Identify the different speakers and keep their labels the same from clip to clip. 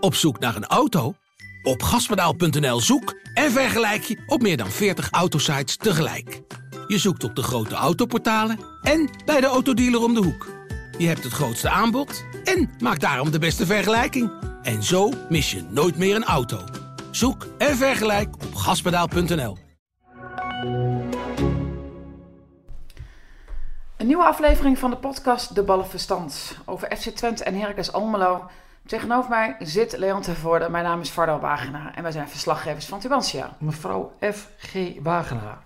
Speaker 1: Op zoek naar een auto? Op gaspedaal.nl zoek en vergelijk je op meer dan 40 autosites tegelijk. Je zoekt op de grote autoportalen en bij de autodealer om de hoek. Je hebt het grootste aanbod en maakt daarom de beste vergelijking. En zo mis je nooit meer een auto. Zoek en vergelijk op gaspedaal.nl.
Speaker 2: Een nieuwe aflevering van de podcast De Ballen Verstand over FC Twente en Heracles Almelo. Tegenover mij zit Leon Tervoorde. Mijn naam is Vardal Wagenaar en wij zijn verslaggevers van Tubantia.
Speaker 3: Mevrouw F.G. Wagenaar.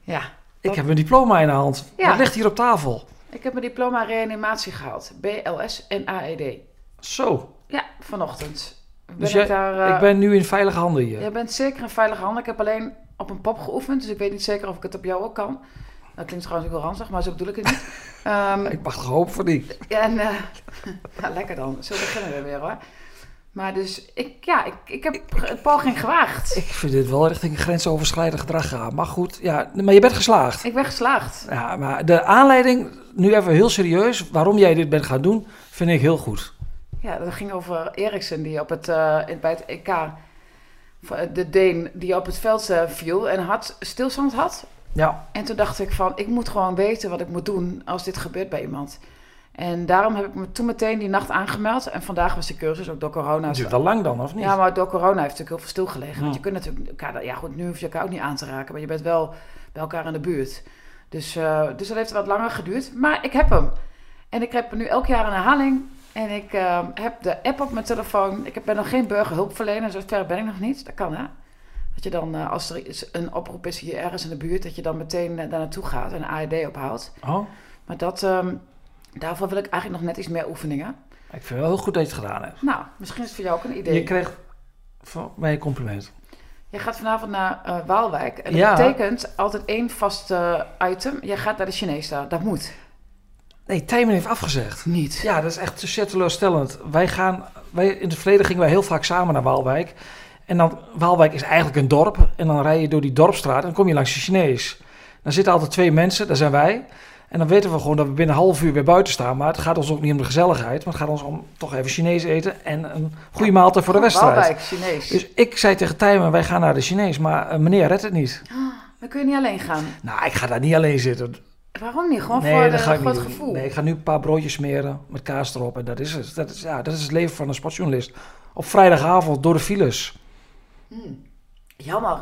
Speaker 2: Ja,
Speaker 3: Ik heb mijn diploma in de hand.
Speaker 2: Ja.
Speaker 3: Dat ligt hier op tafel.
Speaker 2: ik heb mijn diploma reanimatie gehaald. BLS en AED.
Speaker 3: Zo.
Speaker 2: Ja, vanochtend. Ben
Speaker 3: Dus jij-
Speaker 2: ik daar, eh,
Speaker 3: ik ben nu in veilige handen hier.
Speaker 2: Jij bent zeker in veilige handen. Ik heb alleen op een pop geoefend, dus ik weet niet zeker of ik het op jou ook kan. Dat klinkt trouwens ook wel ranzig, maar zo bedoel ik het niet. Ehm,
Speaker 3: Ik mag toch hopen voor die.
Speaker 2: En eh, nou, lekker dan. Zo beginnen we weer hoor. Maar dus, ik, ja, ik, ik heb een poging gewaagd.
Speaker 3: Ik vind dit wel richting grensoverschrijdend gedrag gaan. Maar goed, ja, maar je bent geslaagd.
Speaker 2: Ik ben geslaagd.
Speaker 3: Ja, maar de aanleiding, nu even heel serieus, waarom jij dit bent gaan doen, vind ik heel goed.
Speaker 2: Ja, dat ging over Eriksen die op het, eh, in- bij het EK, voor- eh, de Deen, die op het veld eh, viel en had, stilstand had.
Speaker 3: Ja,
Speaker 2: En toen dacht ik van, ik moet gewoon weten wat ik moet doen als dit gebeurt bij iemand. En daarom heb ik me toen meteen die nacht aangemeld. En vandaag was de cursus, ook door corona.
Speaker 3: dat duurt al lang dan, of niet?
Speaker 2: Ja, maar door corona heeft het natuurlijk heel veel stilgelegen. Want
Speaker 3: Ja.
Speaker 2: je kunt natuurlijk elkaar, ja goed, nu hoef je elkaar ook niet aan te raken, maar je bent wel bij elkaar in de buurt. Dus, eh, dus dat heeft wat langer geduurd, maar ik heb hem. En ik heb nu elk jaar een herhaling. En ik eh, heb de app op mijn telefoon. Ik heb- ben nog geen burgerhulpverlener, zo ver ben ik nog niet. Dat kan hè. Dat je dan, eh, als er iets- een oproep is hier ergens in de buurt, dat je dan meteen eh, daar naartoe gaat en een AED ophoudt.
Speaker 3: Oh,
Speaker 2: Maar dat, ehm, daarvoor wil ik eigenlijk nog net iets meer oefeningen.
Speaker 3: ik vind het wel heel goed dat je het gedaan hebt.
Speaker 2: Nou, misschien is het voor jou ook een idee.
Speaker 3: Je kreeg van mij een compliment.
Speaker 2: Jij gaat vanavond naar eh, Waalwijk. En dat
Speaker 3: Ja.
Speaker 2: betekent altijd één vast eh, item. Jij gaat naar de Chinees daar. Dat moet.
Speaker 3: Nee, Tijmen heeft afgezegd.
Speaker 2: Niet.
Speaker 3: Ja, dat is echt zeer teleurstellend. Wij gaan, wij, in het verleden gingen wij heel vaak samen naar Waalwijk. En dan, Waalwijk is eigenlijk een dorp. En dan rij je door die dorpstraat en dan kom je langs de Chinees. Dan zitten altijd twee mensen, daar zijn wij. En dan weten we gewoon dat we binnen een half uur weer buiten staan. Maar het gaat ons ook niet om de gezelligheid. Maar het gaat ons om toch even Chinees eten en een goede maaltijd voor de wedstrijd.
Speaker 2: Waalwijk, Chinees.
Speaker 3: Dus ik zei tegen Tijmen, wij gaan naar de Chinees. Maar eh, meneer redt het niet.
Speaker 2: Dan kun je niet alleen gaan.
Speaker 3: Nou, ik ga daar niet alleen zitten.
Speaker 2: Waarom niet? Gewoon voor, de,
Speaker 3: dat ga ik
Speaker 2: voor
Speaker 3: niet
Speaker 2: het
Speaker 3: doen.
Speaker 2: gevoel.
Speaker 3: Nee, ik ga nu een paar broodjes smeren met kaas erop en dat is het. Dat is, ja, dat is het leven van een sportjournalist. Op vrijdagavond door de files.
Speaker 2: Jammer.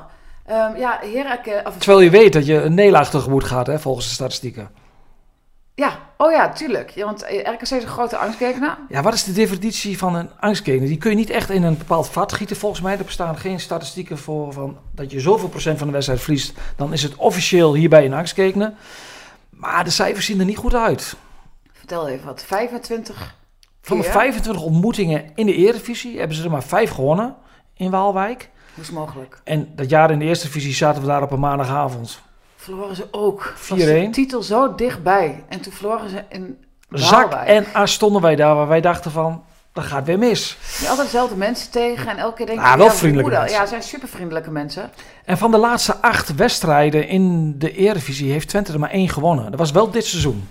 Speaker 2: Ehm, ja, Herak... Of,
Speaker 3: Terwijl je weet dat je een nederlaag tegemoet gaat, hè, volgens de statistieken.
Speaker 2: ja, oh ja, tuurlijk. Ja, want eh, RKC is een grote angstkekenaar.
Speaker 3: Ja, wat is de definitie van een angstketen? Die kun je niet echt in een bepaald vat gieten. Volgens mij er bestaan geen statistieken voor van dat je zoveel procent van de wedstrijd verliest. Dan is het officieel hierbij een angstketen. Maar de cijfers zien er niet goed uit.
Speaker 2: Vertel even wat. 25
Speaker 3: Van de
Speaker 2: keer.
Speaker 3: 25 ontmoetingen in de Eredivisie hebben ze er maar 5 gewonnen in Waalwijk.
Speaker 2: Hoe is het mogelijk?
Speaker 3: En dat jaar in de eerste divisie zaten we daar op een maandagavond.
Speaker 2: Verloren ze ook. Was de
Speaker 3: 4-1.
Speaker 2: titel zo dichtbij. En toen verloren ze in
Speaker 3: Zak
Speaker 2: Waalwijk.
Speaker 3: en as stonden wij daar waar wij dachten van, dat gaat weer mis.
Speaker 2: Je altijd dezelfde mensen tegen en elke keer denk je...
Speaker 3: Ah, wel
Speaker 2: ja,
Speaker 3: vriendelijke
Speaker 2: hoe dan?
Speaker 3: mensen.
Speaker 2: Ja, ze zijn super vriendelijke mensen.
Speaker 3: En van de laatste acht wedstrijden in de Eredivisie heeft Twente er maar één gewonnen. Dat was wel dit seizoen.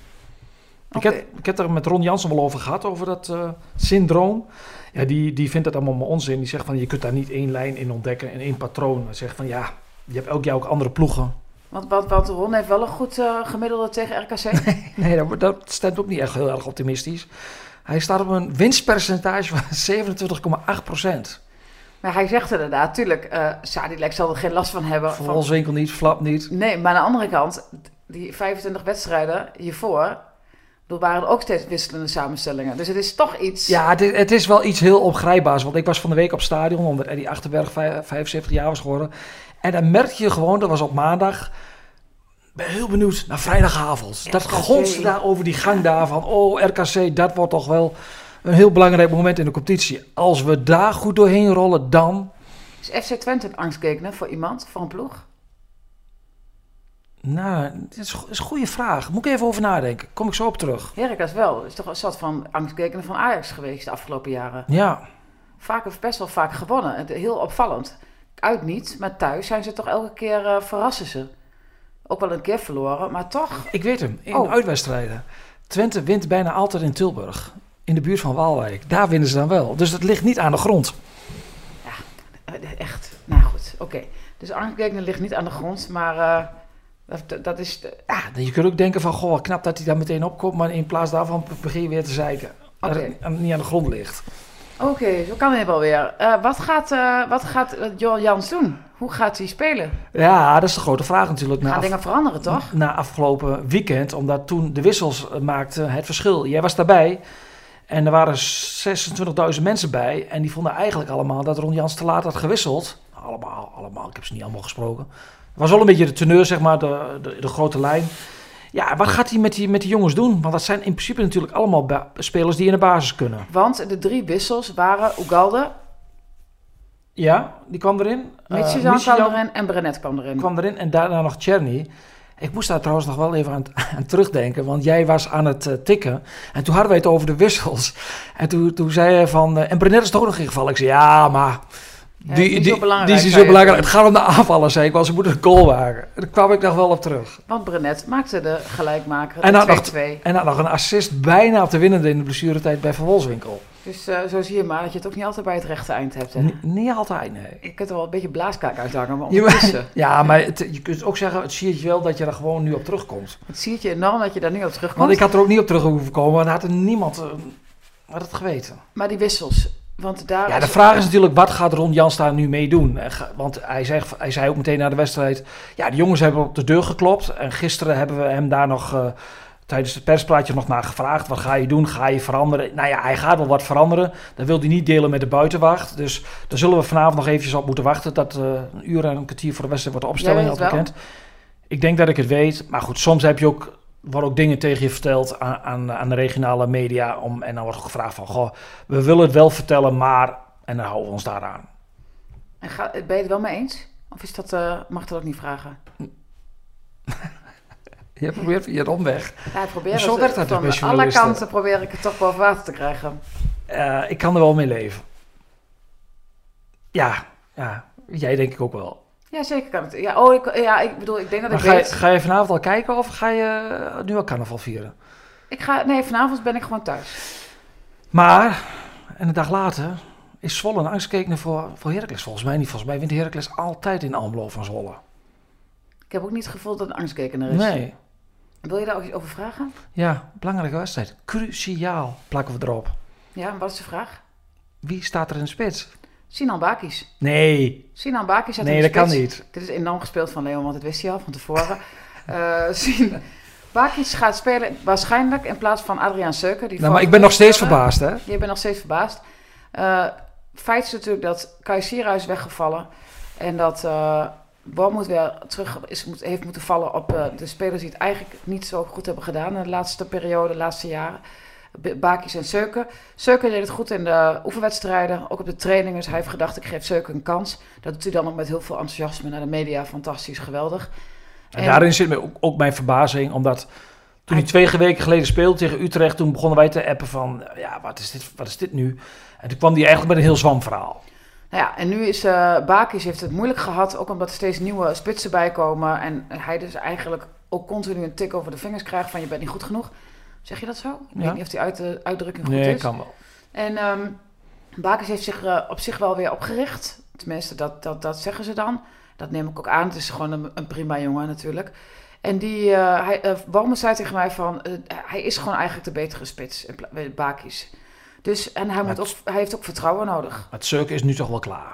Speaker 3: Ik, heb, ik heb er met Ron Jansen wel over gehad, over dat eh, syndroom. Ja, die, die vindt dat allemaal maar onzin. Die zegt van, je kunt daar niet één lijn in ontdekken en één patroon. Hij zegt van, ja, je hebt elk jaar ook andere ploegen.
Speaker 2: Want, want, want Ron heeft wel een goed eh, gemiddelde tegen RKC.
Speaker 3: Nee, dat, dat stemt ook niet echt heel erg optimistisch. Hij staat op een winstpercentage van 27,8 procent.
Speaker 2: maar hij zegt inderdaad, tuurlijk, eh Sadilek zal er geen last van hebben.
Speaker 3: Voor
Speaker 2: Van-
Speaker 3: ons winkel niet, flap niet.
Speaker 2: Nee, maar aan de andere kant, die 25 wedstrijden hiervoor... ik bedoel, waren er ook steeds wisselende samenstellingen. Dus het is toch iets...
Speaker 3: Ja, het is, het is wel iets heel opgrijpbaars. Want ik was van de week op stadion, omdat Eddie Achterberg vij- 75 jaar was geworden. En dan merk je gewoon, dat was op maandag. Ik ben heel benieuwd naar vrijdagavond. Dat
Speaker 2: RKC.
Speaker 3: gonste daar over die gang daar van... oh, RKC, dat wordt toch wel een heel belangrijk moment in de competitie. Als we daar goed doorheen rollen, dan...
Speaker 2: Is FC Twente een angstkeken voor iemand, voor een ploeg?
Speaker 3: Nou, dat is, go- is een goede vraag. Moet ik even over nadenken. Kom ik zo op terug.
Speaker 2: Heracles wel. Is toch een soort van angstkeken van Ajax geweest de afgelopen jaren.
Speaker 3: Ja,
Speaker 2: vaak of best wel vaak gewonnen. Het- Heel opvallend. Uit niet, maar thuis zijn ze toch elke keer eh, verrassen ze. Ook wel een keer verloren, maar toch.
Speaker 3: ik weet hem. In
Speaker 2: Oh.
Speaker 3: uitwedstrijden. Twente wint bijna altijd in Tilburg. In in de buurt van Waalwijk. Daar winnen ze dan wel. Dus dat ligt niet aan de grond.
Speaker 2: Eh, Echt. Nou goed, oké. Dus Arnhem ligt niet aan de grond, maar eh, dat, dat is... de-
Speaker 3: Ja, dan je kunt ook denken van, goh, wat knap dat hij daar meteen opkomt. Maar in plaats daarvan begin je weer te zeiken. Dat
Speaker 2: Oké.
Speaker 3: het niet aan de grond ligt.
Speaker 2: Oké, zo kan het wel weer. Eh, wat gaat, eh wat gaat eh, Johan Jans doen? Hoe gaat hij spelen?
Speaker 3: Ja, dat is de grote vraag natuurlijk.
Speaker 2: Gaan
Speaker 3: na Nou, af-
Speaker 2: dingen veranderen, toch?
Speaker 3: Na afgelopen weekend, omdat toen de wissels eh, maakten het verschil. Jij was daarbij en er waren 26.000 mensen bij. En die vonden eigenlijk allemaal dat Ron Jans te laat had gewisseld. Allemaal, allemaal. Ik heb ze niet allemaal gesproken. Het was wel een beetje de teneur, zeg maar, de, de, de grote lijn. Ja, wat gaat hij met die, met die jongens doen? Want dat zijn in principe natuurlijk allemaal ba- spelers die in de basis kunnen.
Speaker 2: Want de drie wissels waren Ugalde,
Speaker 3: Ja, die kwam erin.
Speaker 2: Mitchell
Speaker 3: Michijan
Speaker 2: kwam erin en Brenet kwam erin.
Speaker 3: Eh, kwam erin en daarna nog Cherny. Ik moest daar trouwens nog wel even aan, aan terugdenken, want jij was aan het eh, tikken. En toen hadden wij het over de wissels. En toen, toen zei hij van, eh, en Brenet is toch ook nog ingevallen? Ik zei, ja, maar...
Speaker 2: Ja, die is niet zo belangrijk,
Speaker 3: die is niet
Speaker 2: zei
Speaker 3: zo
Speaker 2: je
Speaker 3: belangrijk.
Speaker 2: toen.
Speaker 3: Het gaat om de aanvallen, zei ik wel. Ze moeten een goal maken. Daar kwam ik nog wel op terug.
Speaker 2: Want Brenet maakte de gelijkmaker,
Speaker 3: En
Speaker 2: de
Speaker 3: had nog-
Speaker 2: 2-2.
Speaker 3: En dan nog een assist bijna op de winnende in de blessuretijd bij Van Wolfswinkel.
Speaker 2: Dus eh, zo zie je maar dat je het ook niet altijd bij het rechte eind hebt. Hè?
Speaker 3: N- niet altijd, nee.
Speaker 2: Ik heb er wel een beetje blaaskaak uithangen, maar
Speaker 3: Je-
Speaker 2: ondertussen.
Speaker 3: Ja, maar het- je kunt ook zeggen, het siert je wel dat je er gewoon nu op terugkomt.
Speaker 2: Het ziet je enorm dat je daar nu op terugkomt.
Speaker 3: Want ik had er ook niet op terug hoeven komen, want dan had er niemand eh, had het geweten.
Speaker 2: Maar die wissels, want daar...
Speaker 3: Ja,
Speaker 2: is-
Speaker 3: de vraag is natuurlijk, wat gaat Ron Jans daar nu mee doen? En ga- Want hij zei, hij zei ook meteen na de wedstrijd, ja, de jongens hebben op de deur geklopt. En gisteren hebben we hem daar nog, eh, tijdens het perspraatje nog naar gevraagd. Wat ga je doen? Ga je veranderen? Nou ja, hij gaat wel wat veranderen. Dat wil hij niet delen met de buitenwacht. Dus daar zullen we vanavond nog eventjes op moeten wachten. Dat eh, een uur en een kwartier voor de wedstrijd wordt de opstelling
Speaker 2: Jij
Speaker 3: al
Speaker 2: weet het
Speaker 3: bekend. Ik denk dat ik het weet. Maar goed, soms heb je ook... Worden ook dingen tegen je verteld aan, aan, aan de regionale media. Om, en dan wordt gevraagd van, goh, we willen het wel vertellen, maar... En dan houden we ons daaraan.
Speaker 2: En ga, ben je het wel mee eens? Of is dat, eh, mag dat ook niet vragen?
Speaker 3: Je probeert via de omweg.
Speaker 2: Ja, ik probeer
Speaker 3: Zo
Speaker 2: het,
Speaker 3: werkt dat
Speaker 2: van
Speaker 3: dus bij
Speaker 2: alle
Speaker 3: journalisten.
Speaker 2: kanten probeer ik het toch boven water te krijgen.
Speaker 3: Eh, ik kan er wel mee leven. Ja, ja. Jij denk ik ook wel.
Speaker 2: Ja, zeker kan het. Ja, oh, ik, ja, ik bedoel, ik denk dat
Speaker 3: Maar
Speaker 2: ik
Speaker 3: ga je,
Speaker 2: weet...
Speaker 3: ga je vanavond al kijken of ga je eh, nu al carnaval vieren?
Speaker 2: Ik ga, nee, vanavond ben ik gewoon thuis.
Speaker 3: Maar, en een dag later, is Zwolle een angstkekener voor, voor Heracles. Volgens mij niet. Volgens mij wint Heracles altijd in Almelo van Zwolle.
Speaker 2: Ik heb ook niet het gevoel dat een angstkekener is.
Speaker 3: Nee.
Speaker 2: Wil je daar ook iets over vragen?
Speaker 3: Ja, belangrijke wedstrijd. Cruciaal plakken we erop.
Speaker 2: Ja, en wat is de vraag?
Speaker 3: Wie staat er in de spits?
Speaker 2: Sinan Bakis.
Speaker 3: Nee,
Speaker 2: Sinan Bakis uit
Speaker 3: nee
Speaker 2: de
Speaker 3: dat kan
Speaker 2: spits.
Speaker 3: niet.
Speaker 2: Dit is enorm gespeeld van Leon, want dat wist hij al van tevoren. Eh Sin- Bakis gaat spelen waarschijnlijk in plaats van Adriaan Seuker. Die
Speaker 3: Nou, maar
Speaker 2: vorige
Speaker 3: ik ben nog
Speaker 2: week
Speaker 3: steeds
Speaker 2: speelde.
Speaker 3: verbaasd, hè?
Speaker 2: Je bent nog steeds verbaasd. Eh, feit is natuurlijk dat Kai Sierra is weggevallen. En dat eh Bor moet weer terug is, moet, heeft moeten vallen op eh, de spelers die het eigenlijk niet zo goed hebben gedaan in de laatste periode, de laatste jaren. B- Bakis en Seuken. Seuken deed het goed in de oefenwedstrijden, ook op de trainingen. Dus hij heeft gedacht, ik geef Seuken een kans. Dat doet hij dan ook met heel veel enthousiasme naar de media. Fantastisch, geweldig.
Speaker 3: En daarin zit me ook, ook mijn verbazing, omdat toen hij twee weken geleden speelde tegen Utrecht, toen begonnen wij te appen van, ja, wat is dit, wat is dit nu? En toen kwam hij eigenlijk met een heel zwam verhaal.
Speaker 2: Nou ja, en nu is eh Bakis heeft het moeilijk gehad, ook omdat er steeds nieuwe spitsen bij komen. En hij dus eigenlijk ook continu een tik over de vingers krijgt van je bent niet goed genoeg. Zeg je dat zo? Ik
Speaker 3: Ja.
Speaker 2: weet niet of die uit, de uitdrukking goed
Speaker 3: Nee,
Speaker 2: is.
Speaker 3: kan wel.
Speaker 2: En ehm Bakers heeft zich eh, op zich wel weer opgericht. Tenminste, dat, dat, dat zeggen ze dan. Dat neem ik ook aan. Het is gewoon een, een prima jongen natuurlijk. En die, eh, hij, eh, Bomen zei tegen mij van, eh, hij is gewoon eigenlijk de betere spits, in pla- bij Bakis. Dus, en hij, moet ook, hij heeft ook vertrouwen nodig.
Speaker 3: Maar het circus is nu toch wel klaar.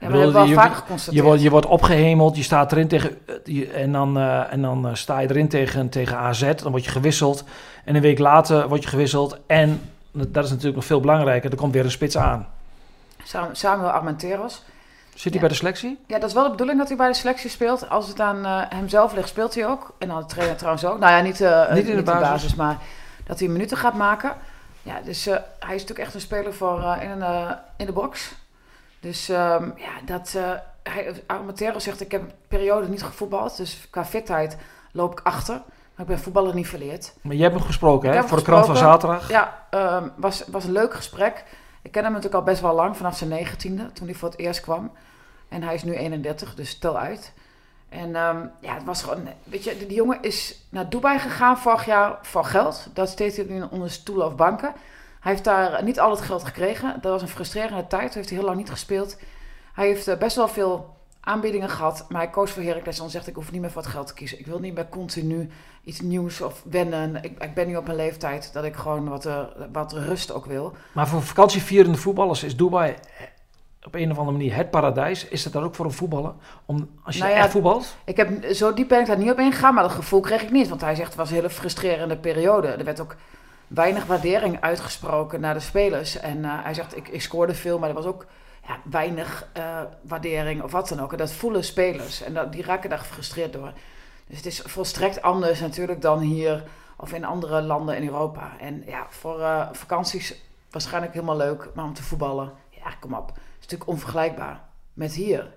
Speaker 2: Ja, maar dat
Speaker 3: Ik bedoel,
Speaker 2: hebben we
Speaker 3: je-
Speaker 2: al vaker
Speaker 3: Je
Speaker 2: geconstateerd.
Speaker 3: wordt, je wordt opgehemeld, je staat erin tegen, eh, je- en dan, eh, en dan eh, sta je erin tegen, tegen AZ, dan word je gewisseld. En een week later word je gewisseld en, dat is natuurlijk nog veel belangrijker, er komt weer een spits aan.
Speaker 2: Sam- Samuel Armenteros.
Speaker 3: Zit hij
Speaker 2: Ja.
Speaker 3: bij de selectie?
Speaker 2: Ja, dat is wel de bedoeling dat hij bij de selectie speelt. Als het aan eh, hemzelf ligt, speelt hij ook. En aan de trainer trouwens ook. Nou ja, niet, eh, eh,
Speaker 3: Niet in de basis.
Speaker 2: maar dat hij minuten gaat maken. Ja, dus eh, hij is natuurlijk echt een speler voor eh, in, een, eh, in de box. Dus ehm, ja, dat... eh hij, Armatero zegt, ik heb een periode niet gevoetbald. Dus qua fitheid loop ik achter. Maar ik ben voetballer niet verleerd.
Speaker 3: Maar jij hebt hem gesproken,
Speaker 2: Ik heb
Speaker 3: hè?
Speaker 2: hem
Speaker 3: Voor de krant van
Speaker 2: gesproken.
Speaker 3: zaterdag.
Speaker 2: Ja, ehm, was, was een leuk gesprek. Ik ken hem natuurlijk al best wel lang, vanaf zijn negentiende, toen hij voor het eerst kwam. En hij is nu 31, dus stel uit. En ehm, ja, het was gewoon, weet je, die jongen is naar Dubai gegaan vorig jaar voor geld. Dat steekt hij nu onder stoelen of banken. Hij heeft daar niet al het geld gekregen. Dat was een frustrerende tijd. Toen heeft hij heel lang niet gespeeld. Hij heeft eh, best wel veel aanbiedingen gehad. Maar hij koos voor Heracles. En dan zegt ik hoef niet meer voor het geld te kiezen. Ik wil niet meer continu iets nieuws of wennen. Ik, ik ben nu op een leeftijd dat ik gewoon wat, eh, wat rust ook wil.
Speaker 3: Maar voor vakantievierende voetballers is Dubai eh, op een of andere manier het paradijs. Is dat daar ook voor een voetballer? Om, als je
Speaker 2: Nou ja,
Speaker 3: echt voetbalt?
Speaker 2: Ik heb, zo diep ben ik daar niet op ingegaan, maar dat gevoel kreeg ik niet. Want hij zegt, het was een hele frustrerende periode. Er werd ook weinig waardering uitgesproken naar de spelers. En eh, hij zegt, ik, ik scoorde veel, maar er was ook ja, weinig eh, waardering of wat dan ook. En dat voelen spelers. En dat, die raken daar gefrustreerd door. Dus het is volstrekt anders natuurlijk dan hier of in andere landen in Europa. En ja, voor eh, vakanties waarschijnlijk helemaal leuk, maar om te voetballen, ja, kom op. Het is natuurlijk onvergelijkbaar met hier.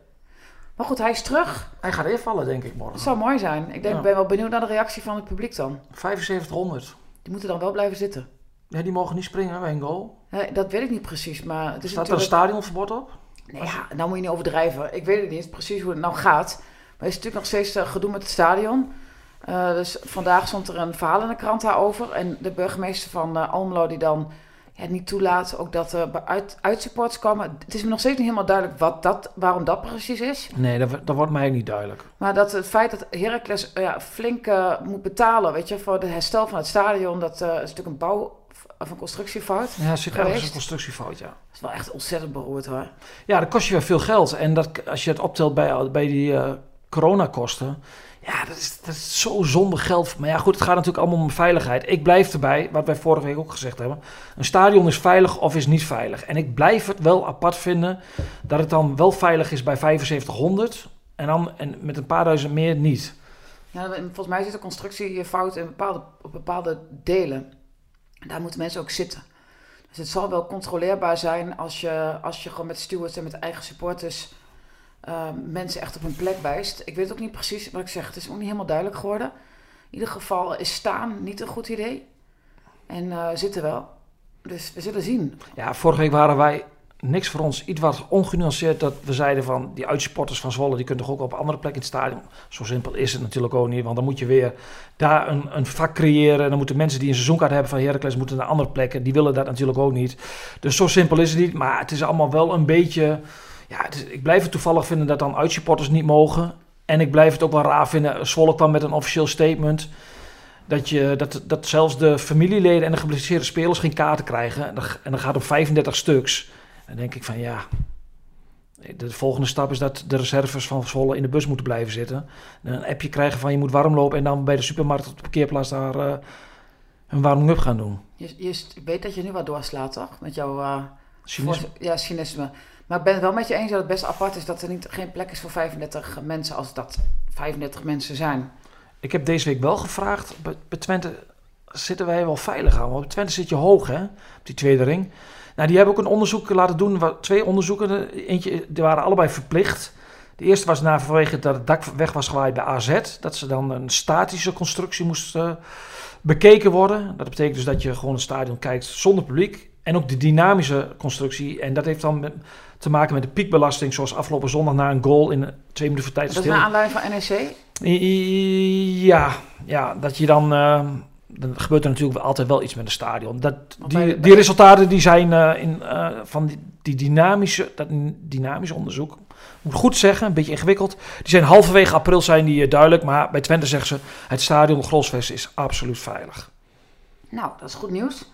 Speaker 2: Maar goed, hij is terug.
Speaker 3: Hij gaat invallen, denk ik,
Speaker 2: Het
Speaker 3: morgen.
Speaker 2: zou mooi zijn. Ik denk,
Speaker 3: Ja.
Speaker 2: ik ben wel benieuwd naar de reactie van het publiek dan.
Speaker 3: 7500.
Speaker 2: Die moeten dan wel blijven zitten.
Speaker 3: Ja, die mogen niet springen bij een goal.
Speaker 2: Hè, dat weet ik niet precies, maar het is
Speaker 3: Staat er een
Speaker 2: natuurlijk...
Speaker 3: stadionverbod op?
Speaker 2: Nee, ja, nou moet je niet overdrijven. Ik weet het niet precies hoe het nou gaat. Maar het is natuurlijk nog steeds eh, gedoe met het stadion. Eh, dus vandaag stond er een verhaal in de krant daarover. En de burgemeester van eh, Almelo die dan ja, niet toelaat ook dat er be- uit, uitsupports komen. Het is me nog steeds niet helemaal duidelijk wat dat, waarom dat precies is.
Speaker 3: Nee, dat, dat wordt mij niet duidelijk.
Speaker 2: Maar dat het feit dat Heracles eh, ja, flink eh, moet betalen, weet je, voor het herstel van het stadion, dat eh, is natuurlijk een bouw- of een constructiefout.
Speaker 3: Ja, zit ergens een
Speaker 2: Geweest?
Speaker 3: constructiefout, ja.
Speaker 2: Dat is wel echt ontzettend beroerd hoor.
Speaker 3: Ja, dat kost je weer veel geld. En dat, als je het optelt bij, bij die eh, coronakosten. Ja, dat is, dat is zo zonde geld. Maar ja, goed, het gaat natuurlijk allemaal om veiligheid. Ik blijf erbij, wat wij vorige week ook gezegd hebben. Een stadion is veilig of is niet veilig. En ik blijf het wel apart vinden dat het dan wel veilig is bij 7500. En dan en met een paar duizend meer niet.
Speaker 2: Ja, en volgens mij zit de constructiefout in bepaalde, op bepaalde delen. En Daar moeten mensen ook zitten. Dus het zal wel controleerbaar zijn als je, als je gewoon met stewards en met eigen supporters eh, mensen echt op hun plek wijst. Ik weet ook niet precies wat ik zeg. Het is ook niet helemaal duidelijk geworden. In ieder geval is staan niet een goed idee. En eh, zitten wel. Dus we zullen zien.
Speaker 3: Ja, vorige week waren wij niks voor ons iets wat ongenuanceerd dat we zeiden van die uitsporters van Zwolle die kunnen toch ook op andere plekken in het stadion. Zo simpel is het natuurlijk ook niet, want dan moet je weer daar een, een vak creëren en dan moeten mensen die een seizoenkaart hebben van Heracles moeten naar andere plekken. Die willen dat natuurlijk ook niet. Dus zo simpel is het niet, maar het is allemaal wel een beetje ja, het is- ik blijf het toevallig vinden dat dan uitsupporters niet mogen. En ik blijf het ook wel raar vinden. Zwolle kwam met een officieel statement. Dat, je, dat, dat zelfs de familieleden en de geblesseerde spelers geen kaarten krijgen. En dan, en dan gaat het om 35 stuks. En dan denk ik van ja. De volgende stap is dat de reserves van Zwolle in de bus moeten blijven zitten. En een appje krijgen van je moet warm lopen. En dan bij de supermarkt op de parkeerplaats daar eh, een warming-up gaan doen.
Speaker 2: Je, je, st- ik weet dat je nu wat doorslaat, toch? Met jouw eh,
Speaker 3: Cynisme.
Speaker 2: voor- ja, cynisme. Maar ik ben het wel met je eens dat het best apart is dat er niet, geen plek is voor 35 mensen als dat 35 mensen zijn.
Speaker 3: Ik heb deze week wel gevraagd. Bij, bij Twente zitten wij wel veilig aan. Want bij Twente zit je hoog, hè? Op die tweede ring. Nou, die hebben ook een onderzoek laten doen. waar- Twee onderzoeken. Eentje, die waren allebei verplicht. De eerste was na vanwege dat het dak weg was gewaaid bij AZ. Dat ze dan een statische constructie moest eh, bekeken worden. Dat betekent dus dat je gewoon het stadion kijkt zonder publiek. En ook de dynamische constructie. En dat heeft dan met- te maken met de piekbelasting. Zoals afgelopen zondag na een goal in eh, twee minuten voor tijd
Speaker 2: Dat is
Speaker 3: stil.
Speaker 2: naar aanleiding van E NEC.
Speaker 3: I- i- Ja, ja dat je dan. eh, dan gebeurt er natuurlijk altijd wel iets met het stadion. Dat,
Speaker 2: Want bij
Speaker 3: die,
Speaker 2: de-
Speaker 3: die resultaten die zijn eh, in, eh, van die, die dynamische, dat dynamische onderzoek. Moet ik goed zeggen, een beetje ingewikkeld. Die zijn halverwege april zijn die eh, duidelijk. Maar bij Twente zeggen ze: het stadion Grosvest is absoluut veilig.
Speaker 2: Nou, dat is goed nieuws.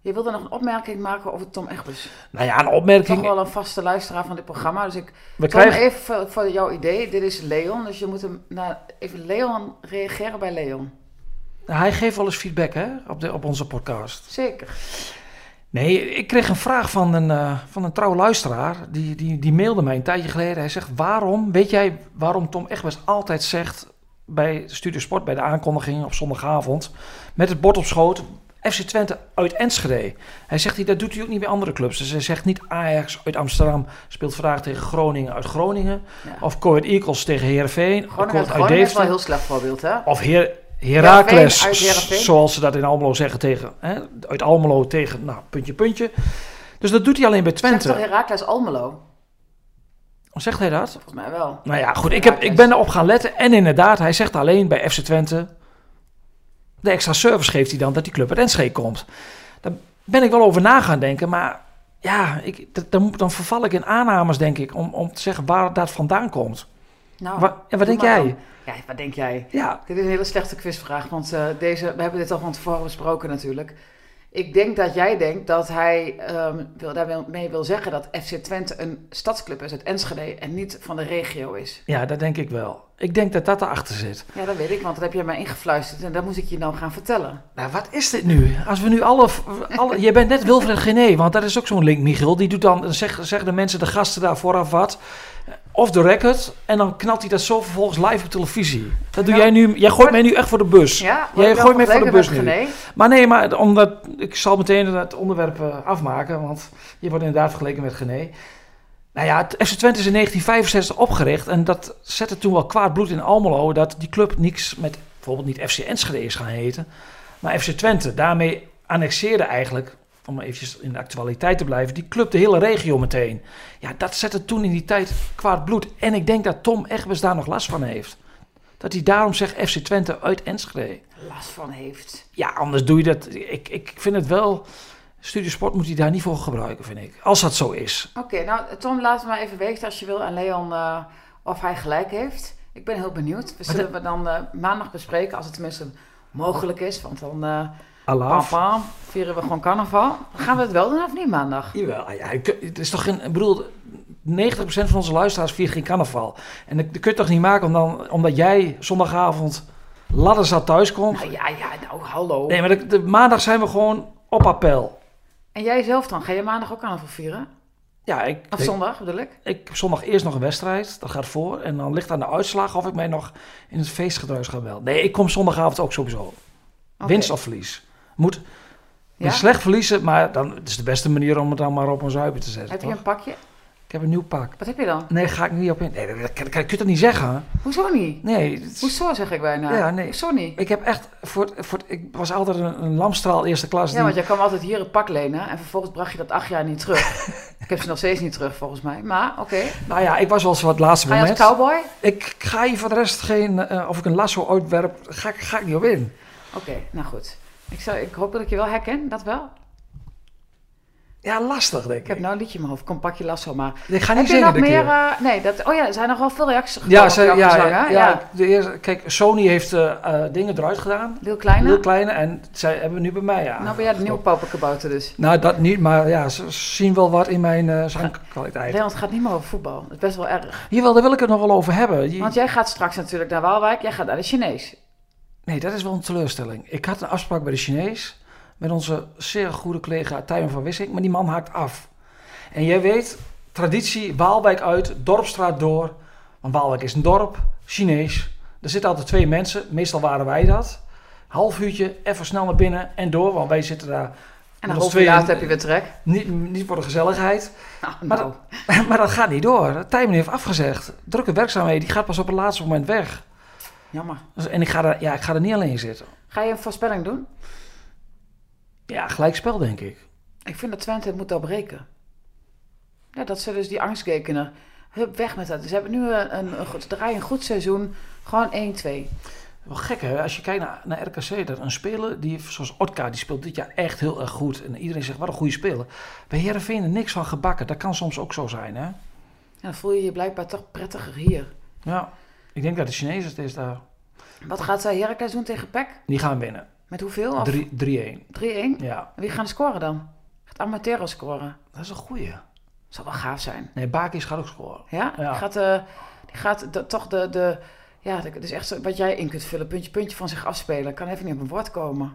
Speaker 2: Je wilde nog een opmerking maken over Tom Egbers.
Speaker 3: Nou ja, een
Speaker 2: Toch
Speaker 3: opmerking.
Speaker 2: wel een vaste luisteraar van dit programma. Dus ik Tom,
Speaker 3: We krijgen,
Speaker 2: even voor, voor jouw idee. Dit is Leon, dus je moet hem naar, even Leon reageren bij Leon.
Speaker 3: hij geeft wel eens feedback hè, op, de, op onze podcast.
Speaker 2: Zeker.
Speaker 3: Nee, ik kreeg een vraag van een, eh van een trouw luisteraar. Die, die, die mailde mij een tijdje geleden. Hij zegt, waarom, weet jij waarom Tom Egbers altijd zegt... bij Studio Sport, bij de aankondiging op zondagavond... met het bord op schoot, FC Twente uit Enschede. Hij zegt, hij, dat doet hij ook niet bij andere clubs. Dus hij zegt niet Ajax uit Amsterdam... speelt vandaag tegen Groningen uit Groningen.
Speaker 2: Ja.
Speaker 3: Of Coed Eagles tegen Heerenveen.
Speaker 2: Groningen,
Speaker 3: Coed
Speaker 2: uit Groningen is wel een heel slecht voorbeeld, hè?
Speaker 3: of Her Herakles,
Speaker 2: Heerenveen, uit Heerenveen.
Speaker 3: zoals ze dat in Almelo zeggen tegen, hè, uit Almelo tegen, nou, puntje, puntje. Dus dat doet hij alleen bij
Speaker 2: Zegt toch
Speaker 3: Twente.
Speaker 2: Herakles Almelo?
Speaker 3: Zegt hij dat?
Speaker 2: Volgens mij wel.
Speaker 3: Nou ja, goed, ik, heb, ik ben erop gaan letten en inderdaad, hij zegt alleen bij FC Twente, de extra service geeft hij dan dat die club uit Enschede komt. Dan ben ik wel over na gaan denken. Maar ja, ik, dat- dan, moet- dan verval ik in aannames, denk ik, om, om te zeggen waar dat vandaan komt.
Speaker 2: Nou,
Speaker 3: Wa- en
Speaker 2: doe
Speaker 3: wat denk
Speaker 2: maar
Speaker 3: jij?
Speaker 2: dan. Ja, wat denk jij?
Speaker 3: Ja,
Speaker 2: Dit is een hele slechte quizvraag, want eh, deze, we hebben dit al van tevoren besproken natuurlijk. Ik denk dat jij denkt dat hij ehm, wil, daarmee wil zeggen dat FC Twente een stadsclub is uit Enschede en niet van de regio is.
Speaker 3: ja, dat denk ik wel. Ik denk dat dat erachter zit.
Speaker 2: Ja, dat weet ik, want dat heb jij mij ingefluisterd en dat moest ik je nou gaan vertellen.
Speaker 3: Nou, wat is dit nu? Als we nu alle... alle je bent net Wilfred Gené, want dat is ook zo'n link, Michiel. Die doet dan, zeggen zeg de mensen, de gasten daar vooraf wat. Off the record. En dan knalt hij dat zo vervolgens live op televisie. Dat doe
Speaker 2: Ja.
Speaker 3: jij nu... Jij gooit mij nu echt voor de bus.
Speaker 2: Ja,
Speaker 3: Jij
Speaker 2: wat wel
Speaker 3: gooit mij voor de
Speaker 2: vergeleken
Speaker 3: bus
Speaker 2: met
Speaker 3: nu.
Speaker 2: Gené.
Speaker 3: Maar nee, maar omdat, ik zal meteen het onderwerp eh, afmaken, want je wordt inderdaad vergeleken met Gené. Nou ja, het FC Twente is in 1965 opgericht en dat zette toen wel kwaad bloed in Almelo dat die club niks met bijvoorbeeld niet FC Enschede is gaan heten, maar FC Twente. Daarmee annexeerde eigenlijk, om maar eventjes in de actualiteit te blijven, die club de hele regio meteen. Ja, dat zette toen in die tijd kwaad bloed en ik denk dat Tom Egbers daar nog last van heeft. Dat hij daarom zegt FC Twente uit Enschede.
Speaker 2: Last van heeft.
Speaker 3: Ja, anders doe je dat. Ik, ik vind het wel. Studiosport moet hij daar niet voor gebruiken, vind ik. Als dat zo is.
Speaker 2: Oké, nou Tom, laat het maar even weten als je wil aan Leon eh, of hij gelijk heeft. Ik ben heel benieuwd. We
Speaker 3: e-
Speaker 2: zullen we dan eh, maandag bespreken, als het tenminste mogelijk is, want dan... eh,
Speaker 3: Allah.
Speaker 2: Papa, vieren we gewoon carnaval? Gaan we het wel doen of niet maandag?
Speaker 3: Jawel, ja, je kun- het is toch geen. Ik bedoel, 90% van onze luisteraars viert geen carnaval. En dat, dat kun je toch niet maken om dan, omdat jij zondagavond ladderzat thuis komt.
Speaker 2: Nou ja, ja, nou hallo.
Speaker 3: Nee, maar dat- de, maandag zijn we gewoon op appel.
Speaker 2: En jij zelf dan? Ga je maandag ook carnaval vieren?
Speaker 3: Ja, ik.
Speaker 2: Of
Speaker 3: ik-
Speaker 2: zondag bedoel ik?
Speaker 3: Ik heb zondag eerst nog een wedstrijd, dat gaat voor. En dan ligt aan de uitslag of ik mij nog in het feestgedruis ga wel. Nee, ik kom zondagavond ook sowieso.
Speaker 2: Oké.
Speaker 3: Winst of verlies. Moet
Speaker 2: Ja?
Speaker 3: slecht verliezen, maar dan, het is de beste manier om het dan maar op een zuipen te zetten.
Speaker 2: Heb je
Speaker 3: toch?
Speaker 2: een pakje?
Speaker 3: Ik heb een nieuw pak.
Speaker 2: Wat heb je dan?
Speaker 3: Nee, ga ik niet op in. Nee, dat, dat, dat- dat kun je toch niet zeggen?
Speaker 2: Hoezo niet?
Speaker 3: Nee, het is-
Speaker 2: Hoezo zeg ik bijna?
Speaker 3: Ja, nee.
Speaker 2: Hoezo niet?
Speaker 3: ik heb echt voor, het- voor het- ik was altijd een, een lamstraal eerste klas.
Speaker 2: Ja,
Speaker 3: die-
Speaker 2: want jij kwam altijd hier een pak lenen en vervolgens bracht je dat acht jaar niet terug. ik heb ze nog steeds niet terug volgens mij, maar oké.
Speaker 3: Nou ja, ik was wel eens wat laatste
Speaker 2: Ga je als
Speaker 3: moment.
Speaker 2: cowboy?
Speaker 3: ik ga hier voor de rest geen, eh, of ik een lasso uitwerp, ga, ik- ga ik niet op in.
Speaker 2: Oké, nou goed. Ik, zou, ik hoop dat ik je wel herken, dat wel.
Speaker 3: Ja, lastig denk ik.
Speaker 2: Ik heb nou een liedje in mijn hoofd. Kom, pak je lasso maar.
Speaker 3: Ik ga
Speaker 2: Heb
Speaker 3: niet
Speaker 2: je
Speaker 3: zingen
Speaker 2: nog
Speaker 3: dit
Speaker 2: meer?
Speaker 3: keer.
Speaker 2: eh, nee, dat, oh ja, er zijn nogal veel reacties
Speaker 3: ja,
Speaker 2: gekomen
Speaker 3: ze,
Speaker 2: op jouw
Speaker 3: ja,
Speaker 2: gezang, hè?
Speaker 3: ja, ja, de eerste- kijk, Sony heeft eh, eh, dingen eruit gedaan.
Speaker 2: Heel kleine?
Speaker 3: Heel kleine en zij hebben nu bij mij ja.
Speaker 2: Nou ben jij de nieuwe pauperkabouter dus.
Speaker 3: Nou, dat niet, maar ja, ze zien wel wat in mijn eh zangkwaliteit.
Speaker 2: Leon, het gaat niet meer over voetbal. Dat is best wel erg.
Speaker 3: Jawel, daar wil ik het nog wel over hebben. Je-
Speaker 2: Want jij gaat straks natuurlijk naar Waalwijk. Jij gaat naar de Chinees.
Speaker 3: Nee, dat is wel een teleurstelling. Ik had een afspraak bij de Chinees met onze zeer goede collega Tijmen van Wissing, maar die man haakt af. En jij weet, traditie, Waalwijk uit, Dorpstraat door. Want Waalwijk is een dorp, Chinees. Er zitten altijd twee mensen, meestal waren wij dat. Half uurtje, even snel naar binnen en door, want wij zitten daar
Speaker 2: En een
Speaker 3: Dat is
Speaker 2: half
Speaker 3: twee-
Speaker 2: uur later heb je weer trek.
Speaker 3: niet, niet voor de gezelligheid.
Speaker 2: Nou,
Speaker 3: Maar
Speaker 2: nou.
Speaker 3: maar dat gaat niet door. Tijmen heeft afgezegd. Drukke werkzaamheden, die gaat pas op het laatste moment weg.
Speaker 2: jammer.
Speaker 3: Dus- En ik ga, er, ja, ik ga er niet alleen zitten.
Speaker 2: Ga je een voorspelling doen?
Speaker 3: Ja, gelijkspel denk ik.
Speaker 2: Ik vind dat Twente het moet doorbreken. Ja, dat ze dus die angst gekenen. Hup, weg met dat. Ze hebben nu een, een, een, goed- ze draaien een goed seizoen. Gewoon 1-2.
Speaker 3: Wel gek hè, als je kijkt naar, naar RKC, dat een speler die, zoals Otka, die speelt dit jaar echt heel erg goed. En iedereen zegt, wat een goede speler. Bij Heerenveen er niks van gebakken, dat kan soms ook zo zijn hè.
Speaker 2: En dan voel je je blijkbaar toch prettiger hier.
Speaker 3: Ja, ik denk dat de Chinezen het is daar.
Speaker 2: Wat gaat zij Heracles doen tegen PEC?
Speaker 3: Die gaan winnen.
Speaker 2: Met hoeveel? Of 3-1?
Speaker 3: 3-1. Ja,
Speaker 2: Wie gaan scoren dan? Gaat Amatero scoren?
Speaker 3: dat is een goeie.
Speaker 2: Zal wel gaaf zijn.
Speaker 3: Nee, Bakis gaat ook scoren.
Speaker 2: Ja,
Speaker 3: Ja.
Speaker 2: Die gaat, eh, die gaat de- toch de, de... Ja, de- dus echt zo- wat jij in kunt vullen. Puntje, puntje van zich afspelen. Kan even niet op een woord komen.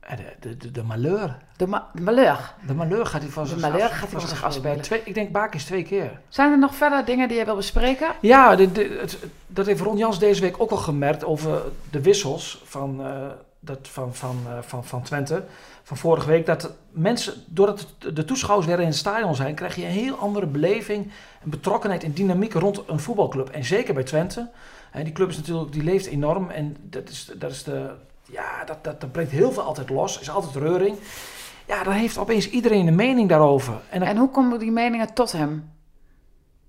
Speaker 3: En de, de, de, de malheur.
Speaker 2: De, ma de malheur.
Speaker 3: De malheur gaat hij van
Speaker 2: De
Speaker 3: zich
Speaker 2: malheur
Speaker 3: af-
Speaker 2: gaat hij van zich afspelen.
Speaker 3: Twee, ik denk Bakis twee keer.
Speaker 2: Zijn er nog verder dingen die je wil bespreken?
Speaker 3: Ja, de- de- het- dat heeft Ron Jans deze week ook al gemerkt over de wissels van, eh, dat, van, van, eh, van, van Twente. Van vorige week. Dat mensen, doordat de toeschouwers weer in het stadion zijn, krijg je een heel andere beleving, en betrokkenheid en dynamiek rond een voetbalclub. En zeker bij Twente. Hè, die club is natuurlijk, die leeft enorm. En dat is, dat is de. Ja, dat, dat, dat brengt heel veel altijd los. Is altijd reuring. Ja, dan heeft opeens iedereen een mening daarover. En dan
Speaker 2: En hoe komen die meningen tot hem?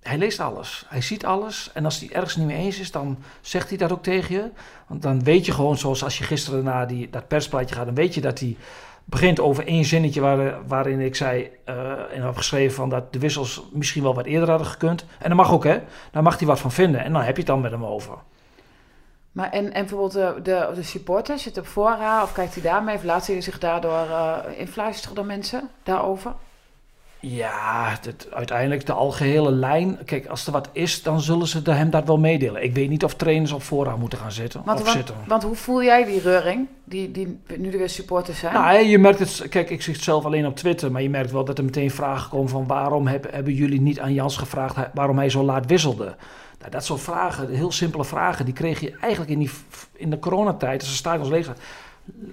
Speaker 3: hij leest alles. Hij ziet alles. En als hij ergens niet mee eens is, dan zegt hij dat ook tegen je. Want dan weet je gewoon, zoals als je gisteren naar die, dat persplaatje gaat, dan weet je dat hij begint over één zinnetje waar, waarin ik zei eh, en had geschreven van dat de wissels misschien wel wat eerder hadden gekund. En dat mag ook, hè? Daar mag hij wat van vinden. En dan heb je het dan met hem over.
Speaker 2: Maar en, en bijvoorbeeld de, de, de supporter zit op voorraad of kijkt hij daarmee? Of laat hij zich daardoor eh influisteren door mensen daarover?
Speaker 3: Ja, het, uiteindelijk de algehele lijn. Kijk, als er wat is, dan zullen ze de- hem dat wel meedelen. Ik weet niet of trainers op voorraad moeten gaan zitten.
Speaker 2: Want,
Speaker 3: of
Speaker 2: want,
Speaker 3: zitten.
Speaker 2: want hoe voel jij die reuring, die, die nu er weer supporters zijn?
Speaker 3: Nou, hè, je merkt het. Kijk, ik zie het zelf alleen op Twitter. Maar je merkt wel dat er meteen vragen komen van waarom heb- hebben jullie niet aan Jans gevraagd hij- waarom hij zo laat wisselde? Nou, dat soort vragen, heel simpele vragen, die kreeg je eigenlijk in, die, f- in de coronatijd, als de stadions leeg zaten,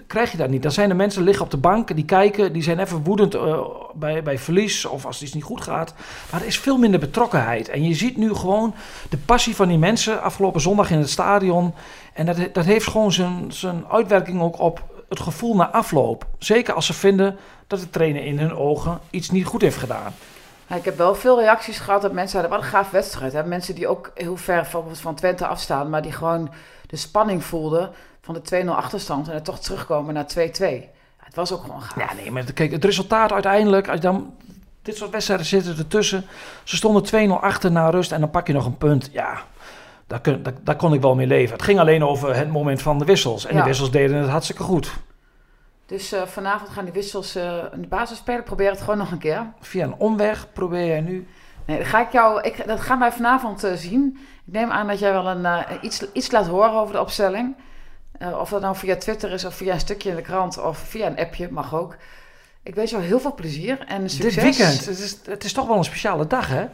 Speaker 3: krijg je dat niet. Dan zijn de mensen liggen op de bank, die kijken, die zijn even woedend eh, bij, bij verlies of als iets niet goed gaat. Maar er is veel minder betrokkenheid. En je ziet nu gewoon de passie van die mensen afgelopen zondag in het stadion. En dat, dat heeft gewoon zijn, zijn uitwerking ook op het gevoel na afloop. Zeker als ze vinden dat de trainer in hun ogen iets niet goed heeft gedaan.
Speaker 2: Ja, ik heb wel veel reacties gehad dat mensen hadden, wat een gaaf wedstrijd. Hè? Mensen die ook heel ver bijvoorbeeld van Twente afstaan, maar die gewoon de spanning voelden van de 2-0 achterstand en dan toch terugkomen naar 2-2. Ja, het was ook gewoon gaaf.
Speaker 3: Ja, nee, maar kijk, het resultaat uiteindelijk, als je dan dit soort wedstrijden zitten ertussen. Ze stonden 2-0 achter na rust en dan pak je nog een punt. Ja, daar, kun, daar, daar kon ik wel mee leven. Het ging alleen over het moment van de wissels. En
Speaker 2: Ja.
Speaker 3: de wissels deden het hartstikke goed.
Speaker 2: Dus eh, vanavond gaan die wissels eh in de basis spelen. Probeer het gewoon nog een keer.
Speaker 3: Via een omweg probeer jij nu.
Speaker 2: Nee, dat, ga ik jou, ik, dat gaan wij vanavond eh, zien. Ik neem aan dat jij wel een, eh, iets, iets laat horen over de opstelling. Eh, of dat nou via Twitter is, of via een stukje in de krant, of via een appje, mag ook. Ik wens jou heel veel plezier en succes.
Speaker 3: Dit weekend. Het is, het is toch wel een speciale dag, hè?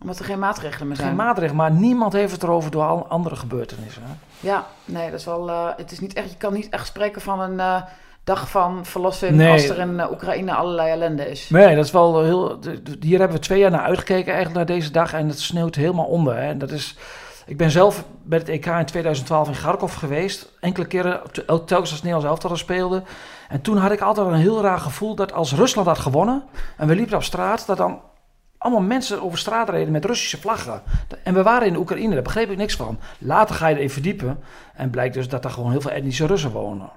Speaker 2: Omdat er geen maatregelen meer zijn.
Speaker 3: Geen maatregelen, maar niemand heeft het erover door al andere gebeurtenissen. Hè?
Speaker 2: Ja, nee, dat is wel. eh, het is niet echt, je kan niet echt spreken van een eh, dag van verlossing
Speaker 3: Nee.
Speaker 2: als er in eh, Oekraïne allerlei ellende is.
Speaker 3: Nee, dat is wel heel. d- d- Hier hebben we twee jaar naar uitgekeken, eigenlijk naar deze dag. En het sneeuwt helemaal onder. Hè. En dat is, ik ben zelf bij het EK in 2012 in Kharkov geweest. Enkele keren, te- el- telkens als het Nederlands elftal er speelde. En toen had ik altijd een heel raar gevoel dat als Rusland had gewonnen. en we liepen op straat, dat dan allemaal mensen over straat reden met Russische vlaggen. En we waren in Oekraïne, daar begreep ik niks van. Later ga je erin verdiepen. En blijkt dus dat daar gewoon heel veel etnische Russen wonen.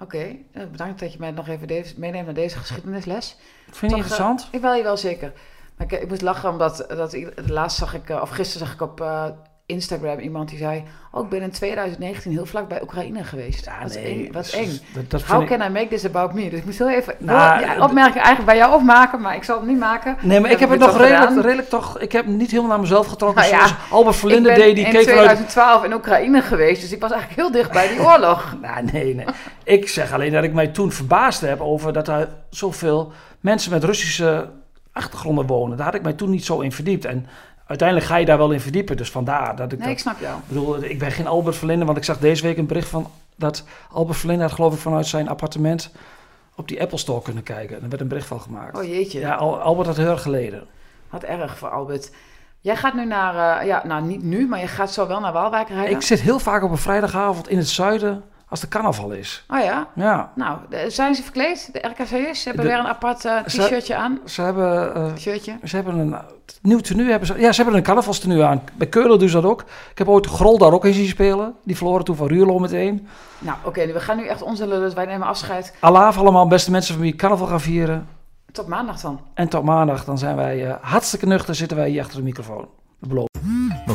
Speaker 2: Oké, eh, bedankt dat je mij nog even deze, meeneemt naar deze geschiedenisles.
Speaker 3: Vind je
Speaker 2: Toch, eh,
Speaker 3: interessant?
Speaker 2: Ik wel, wel zeker. Maar ik, ik moest lachen omdat dat, ik- laatst zag ik, eh, of gisteren zag ik op eh, Instagram iemand die zei: Oh, ik ben in 2019 heel vlak bij Oekraïne geweest.
Speaker 3: Ja,
Speaker 2: wat
Speaker 3: nee,
Speaker 2: eng. Wat
Speaker 3: dat
Speaker 2: eng.
Speaker 3: is- Dat, dat vind
Speaker 2: How
Speaker 3: ik-
Speaker 2: can I make this about me? Dus ik moest heel even. ik
Speaker 3: Nou,
Speaker 2: wil die
Speaker 3: eh,
Speaker 2: opmerking eigenlijk bij jou opmaken, maar ik zal hem niet maken.
Speaker 3: Nee, maar ik heb
Speaker 2: Hebben
Speaker 3: het
Speaker 2: we
Speaker 3: nog
Speaker 2: toch
Speaker 3: redelijk,
Speaker 2: gedaan?
Speaker 3: redelijk toch... Ik heb niet helemaal naar mezelf getrokken.
Speaker 2: Nou ja,
Speaker 3: zoals Albert Verlinde
Speaker 2: ik ben
Speaker 3: deed, die
Speaker 2: in
Speaker 3: keek vanuit...
Speaker 2: 2012 in Oekraïne geweest, dus ik was eigenlijk heel dicht bij die oorlog.
Speaker 3: Nou, nee, nee. Ik zeg alleen dat ik mij toen verbaasd heb over dat er zoveel mensen met Russische achtergronden wonen. Daar had ik mij toen niet zo in verdiept. En uiteindelijk ga je daar wel in verdiepen. Dus vandaar dat ik
Speaker 2: Nee,
Speaker 3: dat...
Speaker 2: ik snap jou.
Speaker 3: Ik bedoel, ik ben geen Albert Verlinde, want ik zag deze week een bericht van dat Albert Verlinde had geloof ik vanuit zijn appartement op die Apple Store kunnen kijken. En er werd een bericht van gemaakt.
Speaker 2: Oh jeetje,
Speaker 3: ja, Al- Albert had heel erg geleden.
Speaker 2: wat erg voor Albert. Jij gaat nu naar, eh, ja, nou niet nu, maar je gaat zo wel naar Waalwijk rijden.
Speaker 3: Ik zit heel vaak op een vrijdagavond in het zuiden als de carnaval is.
Speaker 2: Oh ja?
Speaker 3: Ja,
Speaker 2: Nou, de- zijn ze verkleed, de RKC'ers? Ze hebben
Speaker 3: De-
Speaker 2: weer een apart eh,
Speaker 3: Ze-
Speaker 2: t-shirtje aan.
Speaker 3: ze hebben, eh,
Speaker 2: Shirtje.
Speaker 3: ze hebben een eh, nieuw tenue. Hebben ze, ja, ze hebben een carnavalstenue aan. Bij Keulen doen ze dat ook. Ik heb ooit Grol daar ook in zien spelen. Die verloren toen van Ruurlo meteen.
Speaker 2: Nou, oké, we gaan nu echt onze lullen, dus wij nemen afscheid.
Speaker 3: Alaaf allemaal, beste mensen van wie ik carnaval gaan vieren.
Speaker 2: Tot maandag dan.
Speaker 3: En tot maandag, dan zijn wij eh, hartstikke nuchter, zitten wij hier achter de microfoon. Dat beloof ik.
Speaker 4: We